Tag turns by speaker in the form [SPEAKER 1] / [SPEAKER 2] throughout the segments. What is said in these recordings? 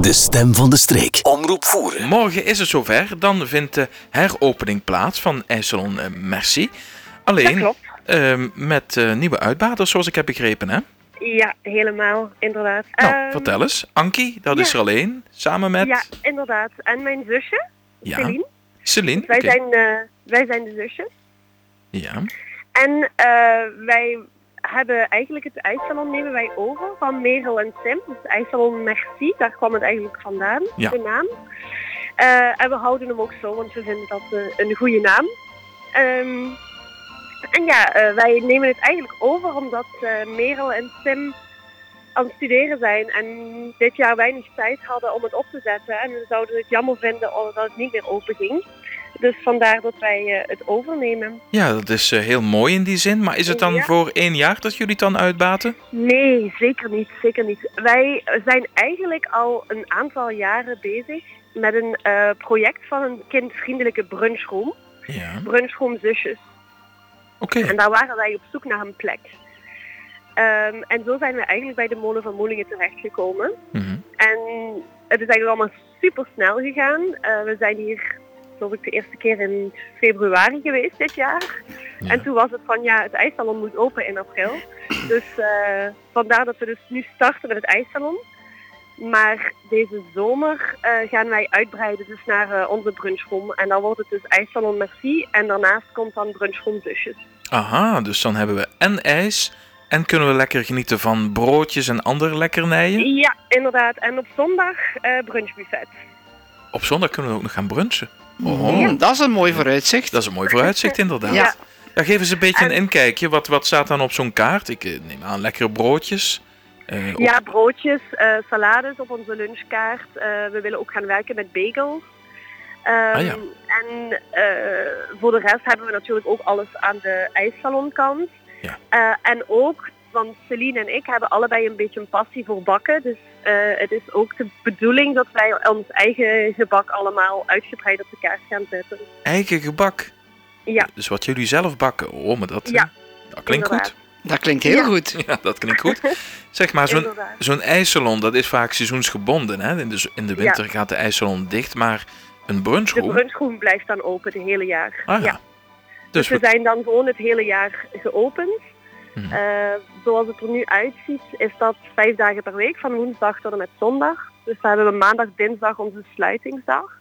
[SPEAKER 1] De stem van de streek. Omroep voeren.
[SPEAKER 2] Morgen is het zover. Dan vindt de heropening plaats van IJsselon eh, Merci.
[SPEAKER 3] Dat
[SPEAKER 2] Alleen
[SPEAKER 3] klopt.
[SPEAKER 2] eh, met eh, nieuwe uitbaters, zoals ik heb begrepen. Hè?
[SPEAKER 3] Ja, helemaal, inderdaad.
[SPEAKER 2] nou,
[SPEAKER 3] Ehm,
[SPEAKER 2] vertel eens. Ankie, dat
[SPEAKER 3] ja.
[SPEAKER 2] is er alleen. Samen met
[SPEAKER 3] Ja, inderdaad. En mijn zusje,
[SPEAKER 2] Ja,
[SPEAKER 3] Celine.
[SPEAKER 2] Celine.
[SPEAKER 3] Wij,
[SPEAKER 2] Oké.
[SPEAKER 3] zijn, eh, wij zijn de zusjes.
[SPEAKER 2] Ja.
[SPEAKER 3] En eh, wij hebben eigenlijk het ijssalon nemen wij over van Merel en Sim. Dus ijssalon Merci, daar kwam het eigenlijk vandaan,
[SPEAKER 2] Ja.
[SPEAKER 3] de naam. Eh, en we houden hem ook zo, want we vinden dat eh, een goede naam. Ehm, en ja, eh, wij nemen het eigenlijk over omdat eh, Merel en Sim aan het studeren zijn en dit jaar weinig tijd hadden om het op te zetten. En we zouden het jammer vinden dat het niet meer open ging. Dus vandaar dat wij eh, het overnemen.
[SPEAKER 2] ja, dat is eh, heel mooi in die zin. Maar is het dan
[SPEAKER 3] Ja.
[SPEAKER 2] voor één jaar dat jullie het dan uitbaten?
[SPEAKER 3] Nee, zeker niet, zeker niet. Wij zijn eigenlijk al een aantal jaren bezig met een eh, project van een kindvriendelijke brunchroom.
[SPEAKER 2] Ja. Oké.
[SPEAKER 3] Brunchroom Zusjes. En daar waren wij op zoek naar een plek. Ehm, en zo zijn we eigenlijk bij de molen van Moelingen terechtgekomen.
[SPEAKER 2] Mhm.
[SPEAKER 3] En het is eigenlijk allemaal super snel gegaan. Eh, we zijn hier, geloof ik, de eerste keer in februari geweest dit jaar.
[SPEAKER 2] Ja.
[SPEAKER 3] En toen was het van, ja, het ijssalon moet open in april. Dus eh, vandaar dat we dus nu starten met het ijssalon. Maar deze zomer eh, gaan wij uitbreiden dus naar eh, onze brunchroom. En dan wordt het dus ijssalon Merci. En daarnaast komt dan brunchroom Zusjes.
[SPEAKER 2] Aha, dus dan hebben we en ijs en kunnen we lekker genieten van broodjes en andere lekkernijen.
[SPEAKER 3] Ja, inderdaad. En op zondag eh, brunchbuffet.
[SPEAKER 2] Op zondag kunnen we ook nog gaan brunchen.
[SPEAKER 4] Oh, Dat is een mooi vooruitzicht.
[SPEAKER 2] Dat is een mooi vooruitzicht inderdaad.
[SPEAKER 4] Ja.
[SPEAKER 2] Ja, geef eens een beetje
[SPEAKER 3] En-
[SPEAKER 2] een inkijkje. Wat, wat staat dan op zo'n kaart? Ik eh, neem aan lekkere broodjes. Eh, op-
[SPEAKER 3] Ja, broodjes, eh, salades op onze lunchkaart. Eh, we willen ook gaan werken met bagels. Ehm,
[SPEAKER 2] Ah, ja.
[SPEAKER 3] En eh, voor de rest hebben we natuurlijk ook alles aan de ijssalonkant.
[SPEAKER 2] Ja.
[SPEAKER 3] Eh, en ook, want Celine en ik hebben allebei een beetje een passie voor bakken. Dus eh, het is ook de bedoeling dat wij ons eigen gebak allemaal uitgebreid op de kaart gaan zetten.
[SPEAKER 2] Eigen gebak.
[SPEAKER 3] Ja.
[SPEAKER 2] Dus wat jullie zelf bakken. Oh, maar dat, eh,
[SPEAKER 3] Ja,
[SPEAKER 2] dat klinkt
[SPEAKER 3] inderdaad.
[SPEAKER 4] Dat klinkt heel
[SPEAKER 3] Ja.
[SPEAKER 4] goed.
[SPEAKER 2] goed. Ja, dat klinkt goed. Zeg maar, Ah, zo'n
[SPEAKER 3] Inderdaad.
[SPEAKER 2] zo'n ijssalon, dat is vaak seizoensgebonden. Hè? In, de, z- in de
[SPEAKER 3] Ja.
[SPEAKER 2] winter gaat de ijssalon dicht, maar een
[SPEAKER 3] De
[SPEAKER 2] brunchroom...
[SPEAKER 3] brunchroom blijft dan open het hele jaar.
[SPEAKER 2] ah ja. Dus
[SPEAKER 3] Dus we
[SPEAKER 2] we-
[SPEAKER 3] zijn dan gewoon het hele jaar geopend.
[SPEAKER 2] Mhm.
[SPEAKER 3] Eh, zoals het er nu uitziet, is dat vijf dagen per week, van woensdag tot en met zondag. Dus dan hebben we maandag, dinsdag onze sluitingsdag.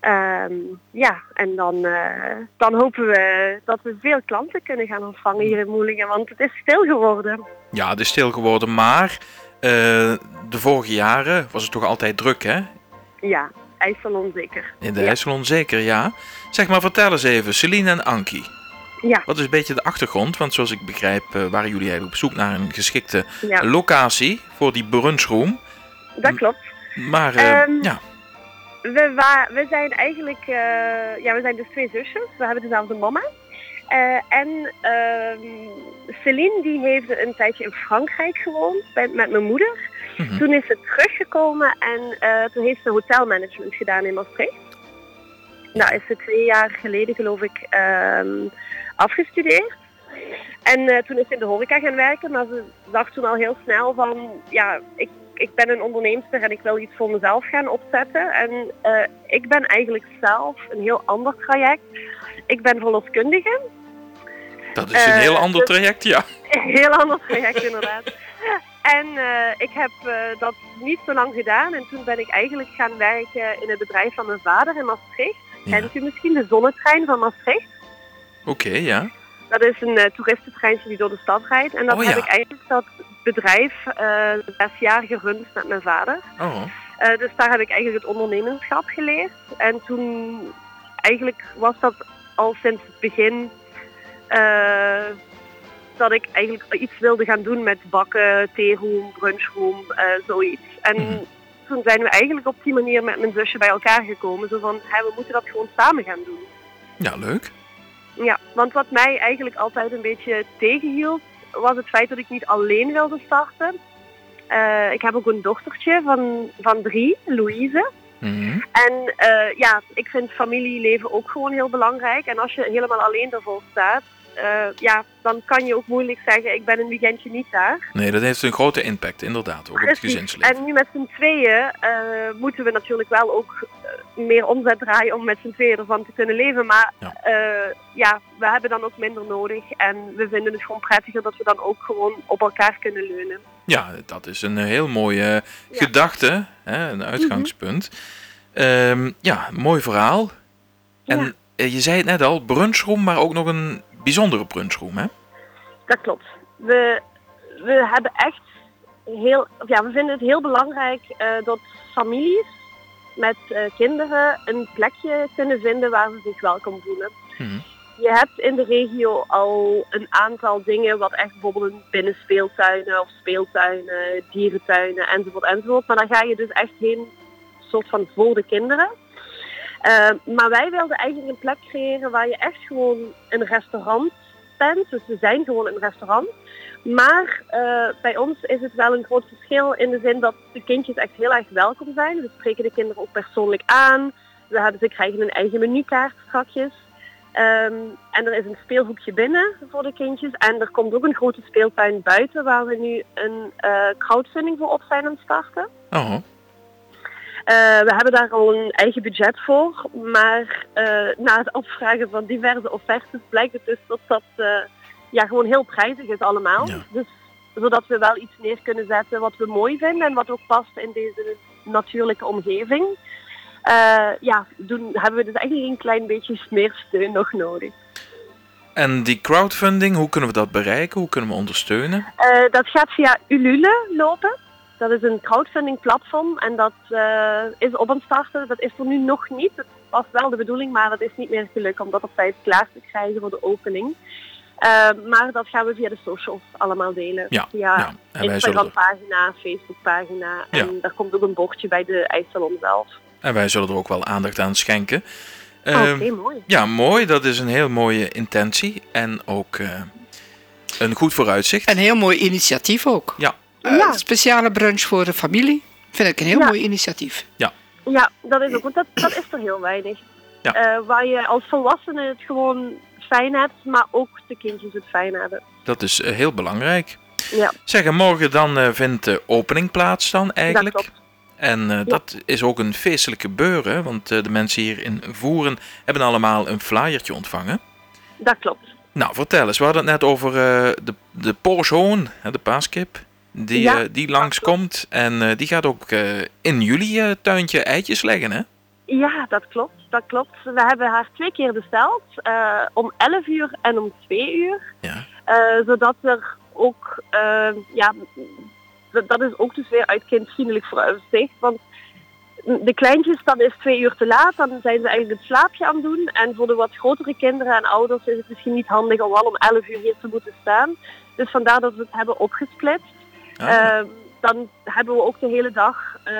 [SPEAKER 3] Ehm, ja, en dan, eh, dan hopen we dat we veel klanten kunnen gaan ontvangen hier in Moelingen, want het is stil geworden.
[SPEAKER 2] ja, het is stil geworden, maar eh, de vorige jaren was het toch altijd druk, hè?
[SPEAKER 3] Ja, IJsselon zeker.
[SPEAKER 2] In de
[SPEAKER 3] Ja.
[SPEAKER 2] ijssalon zeker, ja. Zeg maar, vertel eens even, Celine en Ankie.
[SPEAKER 3] Ja,
[SPEAKER 2] Wat is een beetje de achtergrond? Want zoals ik begrijp eh, waren jullie eigenlijk op zoek naar een geschikte
[SPEAKER 3] ja
[SPEAKER 2] locatie voor die brunchroom.
[SPEAKER 3] dat klopt.
[SPEAKER 2] Maar eh,
[SPEAKER 3] Ehm,
[SPEAKER 2] ja,
[SPEAKER 3] We, wa- we zijn eigenlijk, eh, ja, we zijn dus twee zusjes. We hebben dezelfde mama. Eh, en ehm, Celine die heeft een tijdje in Frankrijk gewoond bij, met mijn moeder.
[SPEAKER 2] Mhm.
[SPEAKER 3] Toen is ze teruggekomen en eh, toen heeft ze hotelmanagement gedaan in Maastricht. Nou is ze twee jaar geleden geloof ik ehm, afgestudeerd. En eh, toen is ze in de horeca gaan werken, maar ze dacht toen al heel snel van, ja, ik, ik ben een onderneemster en ik wil iets voor mezelf gaan opzetten. En eh, ik ben eigenlijk zelf een heel ander traject. Ik ben verloskundige.
[SPEAKER 2] dat is een heel
[SPEAKER 3] eh,
[SPEAKER 2] ander
[SPEAKER 3] dus-
[SPEAKER 2] traject, ja.
[SPEAKER 3] Een heel ander project inderdaad. En eh, ik heb eh, dat niet zo lang gedaan en toen ben ik eigenlijk gaan werken in het bedrijf van mijn vader in Maastricht.
[SPEAKER 2] Ja.
[SPEAKER 3] Kent u misschien de zonnetrein van Maastricht?
[SPEAKER 2] Oké, ja.
[SPEAKER 3] Dat is een eh, toeristentreintje die door de stad rijdt. En dat
[SPEAKER 2] Oh, ja.
[SPEAKER 3] heb ik eigenlijk dat bedrijf eh, zes jaar gerund met mijn vader.
[SPEAKER 2] Oh,
[SPEAKER 3] Eh, dus daar heb ik eigenlijk het ondernemerschap geleerd. En toen eigenlijk was dat al sinds het begin eh, dat ik eigenlijk iets wilde gaan doen met bakken, theeroom, brunchroom, eh, zoiets. En
[SPEAKER 2] Mhm.
[SPEAKER 3] toen zijn we eigenlijk op die manier met mijn zusje bij elkaar gekomen. Zo van, hè, we moeten dat gewoon samen gaan doen.
[SPEAKER 2] ja, leuk.
[SPEAKER 3] Ja, want wat mij eigenlijk altijd een beetje tegenhield, was het feit dat ik niet alleen wilde starten. Eh, ik heb ook een dochtertje van, van drie, Louise.
[SPEAKER 2] Mhm.
[SPEAKER 3] En eh, ja, ik vind familieleven ook gewoon heel belangrijk. En als je helemaal alleen ervoor staat, eh, ja, dan kan je ook moeilijk zeggen, ik ben een weekendje niet daar.
[SPEAKER 2] Nee, dat heeft een grote impact, inderdaad, ook op het
[SPEAKER 3] Precies.
[SPEAKER 2] gezinsleven.
[SPEAKER 3] En nu met z'n tweeën eh, moeten we natuurlijk wel ook eh, meer omzet draaien om met z'n tweeën ervan te kunnen leven. Maar
[SPEAKER 2] Ja.
[SPEAKER 3] eh, ja, we hebben dan ook minder nodig. En we vinden het gewoon prettiger dat we dan ook gewoon op elkaar kunnen leunen.
[SPEAKER 2] Ja, dat is een eh, heel mooie eh,
[SPEAKER 3] Ja. Mhm.
[SPEAKER 2] gedachte, hè, een uitgangspunt. Ehm, ja, mooi verhaal. En
[SPEAKER 3] Ja.
[SPEAKER 2] eh, je zei het net al, brunchroom, maar ook nog een bijzondere brunchroom, hè?
[SPEAKER 3] Dat klopt. We, we hebben echt heel, of ja, we vinden het heel belangrijk eh, dat families met eh, kinderen een plekje kunnen vinden waar ze zich welkom voelen.
[SPEAKER 2] Mhm.
[SPEAKER 3] Je hebt in de regio al een aantal dingen wat echt bijvoorbeeld een binnenspeeltuinen of speeltuinen, dierentuinen enzovoort enzovoort. Maar daar ga je dus echt heen soort van voor de kinderen. Eh, maar wij wilden eigenlijk een plek creëren waar je echt gewoon een restaurant bent. Dus we zijn gewoon een restaurant. Maar eh, bij ons is het wel een groot verschil in de zin dat de kindjes echt heel erg welkom zijn. We spreken de kinderen ook persoonlijk aan. We hebben, ze krijgen een eigen menukaart strakjes. Ehm, en er is een speelhoekje binnen voor de kindjes. En er komt ook een grote speeltuin buiten waar we nu een eh, crowdfunding voor op zijn aan het starten.
[SPEAKER 2] Oh,
[SPEAKER 3] Eh, we hebben daar al een eigen budget voor, maar eh, na het afvragen van diverse offertes blijkt het dus dat dat eh, ja, gewoon heel prijzig is allemaal.
[SPEAKER 2] Ja.
[SPEAKER 3] Dus zodat we wel iets neer kunnen zetten wat we mooi vinden en wat ook past in deze natuurlijke omgeving. Eh, ja, doen, hebben we dus eigenlijk een klein beetje meer steun nog nodig.
[SPEAKER 2] En die crowdfunding, hoe kunnen we dat bereiken? Hoe kunnen we ondersteunen?
[SPEAKER 3] Eh, dat gaat via Ulule lopen. Dat is een crowdfunding platform en dat eh, is op aan het starten. Dat is voor nu nog niet. Het was wel de bedoeling, maar dat is niet meer gelukt om dat op tijd klaar te krijgen voor de opening. Eh, maar dat gaan we via de socials allemaal delen.
[SPEAKER 2] Ja,
[SPEAKER 3] via
[SPEAKER 2] ja. Nou, En, wij zullen er,
[SPEAKER 3] Instagram-pagina, Facebook-pagina. En daar komt ook een bordje bij de ijssalon zelf.
[SPEAKER 2] en wij zullen er ook wel aandacht aan schenken.
[SPEAKER 3] Oké,
[SPEAKER 2] Ehm,
[SPEAKER 3] mooi.
[SPEAKER 2] Ja, mooi. Dat is een heel mooie intentie. En ook eh, een goed vooruitzicht.
[SPEAKER 4] Een heel mooi initiatief ook.
[SPEAKER 2] Ja.
[SPEAKER 4] Eh,
[SPEAKER 3] Ja.
[SPEAKER 4] Speciale brunch voor de familie. Vind ik een heel
[SPEAKER 3] Ja.
[SPEAKER 4] mooi initiatief.
[SPEAKER 3] Ja, dat is ook, want dat, dat is er heel weinig.
[SPEAKER 2] Ja.
[SPEAKER 3] Eh, waar je als volwassene het gewoon fijn hebt, maar ook de kindjes het fijn hebben.
[SPEAKER 2] Dat is eh, heel belangrijk.
[SPEAKER 3] Ja.
[SPEAKER 2] Zeg, en morgen dan eh, vindt de opening plaats dan eigenlijk.
[SPEAKER 3] Dat klopt.
[SPEAKER 2] En eh, dat is ook een feestelijk gebeuren. Want eh, de mensen hier in Voeren hebben allemaal een flyertje ontvangen.
[SPEAKER 3] Dat klopt.
[SPEAKER 2] Nou, vertel eens. We hadden het net over eh, de, de persoon, hè, de paaskip. Die,
[SPEAKER 3] Ja,
[SPEAKER 2] eh, die langskomt. En eh, die gaat ook eh, in jullie eh, tuintje eitjes leggen, hè?
[SPEAKER 3] Ja, dat klopt. Dat klopt. We hebben haar twee keer besteld. eh, om 11 uur en om 2 uur.
[SPEAKER 2] Ja.
[SPEAKER 3] Eh, zodat er ook, eh, ja, dat- dat is ook dus weer uit kindvriendelijk vooruitzicht. Want de kleintjes, dan is twee uur te laat. Dan zijn ze eigenlijk het slaapje aan het doen. En voor de wat grotere kinderen en ouders is het misschien niet handig om al om 11 uur hier te moeten staan. Dus vandaar dat we het hebben opgesplitst.
[SPEAKER 2] Ah,
[SPEAKER 3] Ehm, dan hebben we ook de hele dag eh,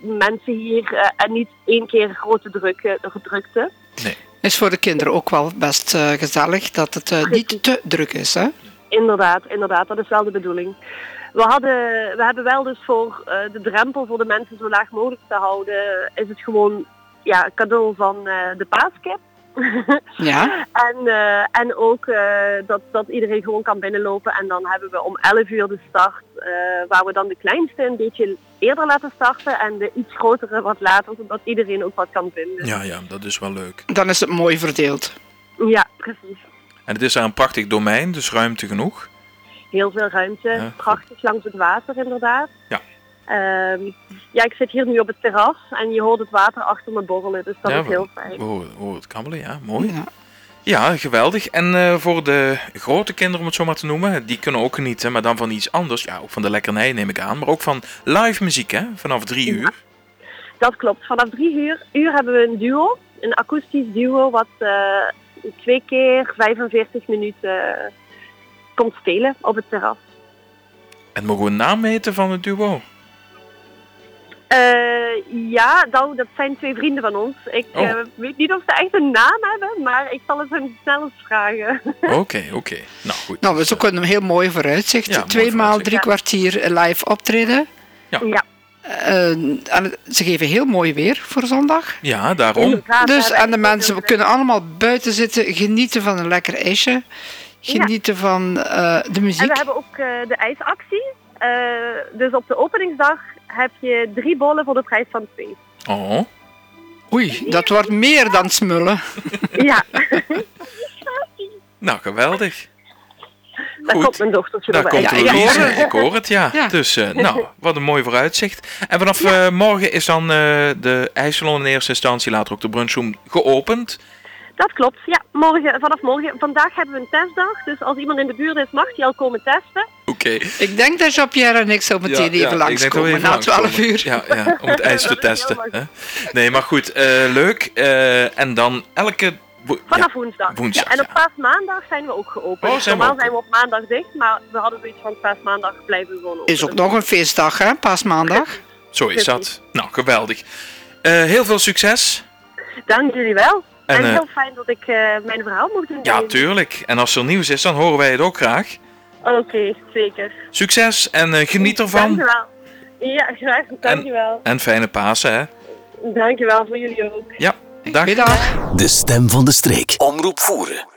[SPEAKER 3] mensen hier eh, en niet één keer grote druk, eh, gedrukte.
[SPEAKER 4] Is voor de kinderen ook wel best eh, gezellig dat het eh, niet te druk is. Hè?
[SPEAKER 3] Inderdaad, inderdaad, dat is wel de bedoeling. We, hadden, we hebben wel dus voor eh, de drempel voor de mensen zo laag mogelijk te houden, is het gewoon ja, een cadeau van eh, de paaskip.
[SPEAKER 4] Ja.
[SPEAKER 3] En, eh, en ook eh, dat, dat iedereen gewoon kan binnenlopen. En dan hebben we om 11 uur de start, eh, waar we dan de kleinste een beetje eerder laten starten en de iets grotere wat later, zodat iedereen ook wat kan vinden.
[SPEAKER 2] ja, ja, dat is wel leuk.
[SPEAKER 4] Dan is het mooi verdeeld.
[SPEAKER 3] Ja, precies.
[SPEAKER 2] En het is daar een prachtig domein, dus ruimte genoeg.
[SPEAKER 3] Heel veel ruimte.
[SPEAKER 2] Ja.
[SPEAKER 3] Prachtig langs het water inderdaad.
[SPEAKER 2] Ja.
[SPEAKER 3] Ehm, ja, ik zit hier nu op het terras en je hoort het water achter me borrelen, dus dat
[SPEAKER 2] Ja,
[SPEAKER 3] is heel fijn.
[SPEAKER 2] We horen, we horen het kabbelen, ja, mooi.
[SPEAKER 4] Ja.
[SPEAKER 2] Ja, geweldig. En eh, voor de grote kinderen, om het zo maar te noemen, die kunnen ook genieten, maar dan van iets anders. Ja, ook van de lekkernij neem ik aan, maar ook van live muziek, hè, vanaf drie
[SPEAKER 3] Ja.
[SPEAKER 2] uur.
[SPEAKER 3] Dat klopt. Vanaf drie uur, uur hebben we een duo, een akoestisch duo, wat eh, twee keer 45 minuten eh, komt spelen op het terras.
[SPEAKER 2] En mogen we een naam weten van het duo?
[SPEAKER 3] Eh, ja, nou, dat zijn twee vrienden van ons. Ik
[SPEAKER 2] Oh.
[SPEAKER 3] eh, weet niet of ze echt een naam hebben, maar ik zal het hem snel eens vragen.
[SPEAKER 2] Oké, oké. Nou, goed.
[SPEAKER 4] Nou, dat is ook een heel mooi vooruitzicht.
[SPEAKER 2] Ja, mooi
[SPEAKER 4] Tweemaal
[SPEAKER 2] vooruitzicht.
[SPEAKER 4] drie kwartier live optreden.
[SPEAKER 2] Ja.
[SPEAKER 3] Ja.
[SPEAKER 4] Eh, en het- ze geven heel mooi weer voor zondag.
[SPEAKER 2] Ja, daarom.
[SPEAKER 3] Inderdaad,
[SPEAKER 4] Dus
[SPEAKER 3] Ah, daar ben
[SPEAKER 4] en de
[SPEAKER 3] ik
[SPEAKER 4] mensen,
[SPEAKER 3] ook
[SPEAKER 4] we
[SPEAKER 3] heel
[SPEAKER 4] kunnen allemaal buiten zitten, genieten van een lekker ijsje. Genieten van eh, de
[SPEAKER 3] En we
[SPEAKER 4] muziek.
[SPEAKER 3] hebben ook eh, de ijsactie. Eh, dus op de openingsdag heb je drie bollen voor de prijs van twee.
[SPEAKER 2] Oh.
[SPEAKER 4] Oei, dat wordt meer dan smullen.
[SPEAKER 3] ja,
[SPEAKER 2] Nou, geweldig.
[SPEAKER 3] daar
[SPEAKER 2] Goed.
[SPEAKER 3] komt mijn dochtertje
[SPEAKER 2] Daar
[SPEAKER 3] erbij.
[SPEAKER 2] komt
[SPEAKER 4] Ja, ik
[SPEAKER 2] Louise,
[SPEAKER 4] hoor
[SPEAKER 2] ik hoor,
[SPEAKER 4] het.
[SPEAKER 2] het, ja.
[SPEAKER 4] Ja.
[SPEAKER 2] Dus, eh, nou, wat een mooi vooruitzicht. En vanaf eh, morgen is dan eh, de ijssalon in eerste instantie, later ook de brunchroom, geopend.
[SPEAKER 3] Dat klopt, ja. Morgen, vanaf morgen. Vandaag hebben we een testdag. Dus als iemand in de buurt is, mag die al komen testen.
[SPEAKER 2] Oké.
[SPEAKER 4] Ik denk dat Jean-Pierre en ik zo meteen
[SPEAKER 2] Ja, ja,
[SPEAKER 4] even
[SPEAKER 2] ik denk dat we
[SPEAKER 4] langskomen
[SPEAKER 2] even
[SPEAKER 4] na 12
[SPEAKER 2] langskomen.
[SPEAKER 4] uur.
[SPEAKER 2] Ja, ja, om het ijs te
[SPEAKER 3] Dat is heel
[SPEAKER 2] testen.
[SPEAKER 3] leuk.
[SPEAKER 2] Hè? Nee, maar goed, eh, leuk. Eh, en dan elke... wo- ja,
[SPEAKER 3] Vanaf woensdag.
[SPEAKER 2] woensdag,
[SPEAKER 3] en op
[SPEAKER 2] ja.
[SPEAKER 3] paasmaandag zijn we ook geopend.
[SPEAKER 2] Oh, zijn we
[SPEAKER 3] Normaal
[SPEAKER 2] ook
[SPEAKER 3] zijn we op maandag dicht, maar we hadden zoiets van paasmaandag blijven we gewoon open.
[SPEAKER 4] Is ook nog een feestdag, hè? Paasmaandag.
[SPEAKER 2] zo is dat. Nou, geweldig. Eh, heel veel succes.
[SPEAKER 3] Dank jullie wel.
[SPEAKER 2] En,
[SPEAKER 3] En,
[SPEAKER 2] eh,
[SPEAKER 3] heel fijn dat ik eh, mijn verhaal mocht doen. bij
[SPEAKER 2] Ja,
[SPEAKER 3] jullie.
[SPEAKER 2] tuurlijk. En als er nieuws is, dan horen wij het ook graag.
[SPEAKER 3] Oké, zeker.
[SPEAKER 2] Succes en eh, geniet ervan.
[SPEAKER 3] Dankjewel. Ja, graag. Dankjewel.
[SPEAKER 2] En fijne Pasen, hè.
[SPEAKER 3] Dankjewel voor jullie ook.
[SPEAKER 2] Ja, dag.
[SPEAKER 4] Middag.
[SPEAKER 1] De stem van de streek. Omroep voeren.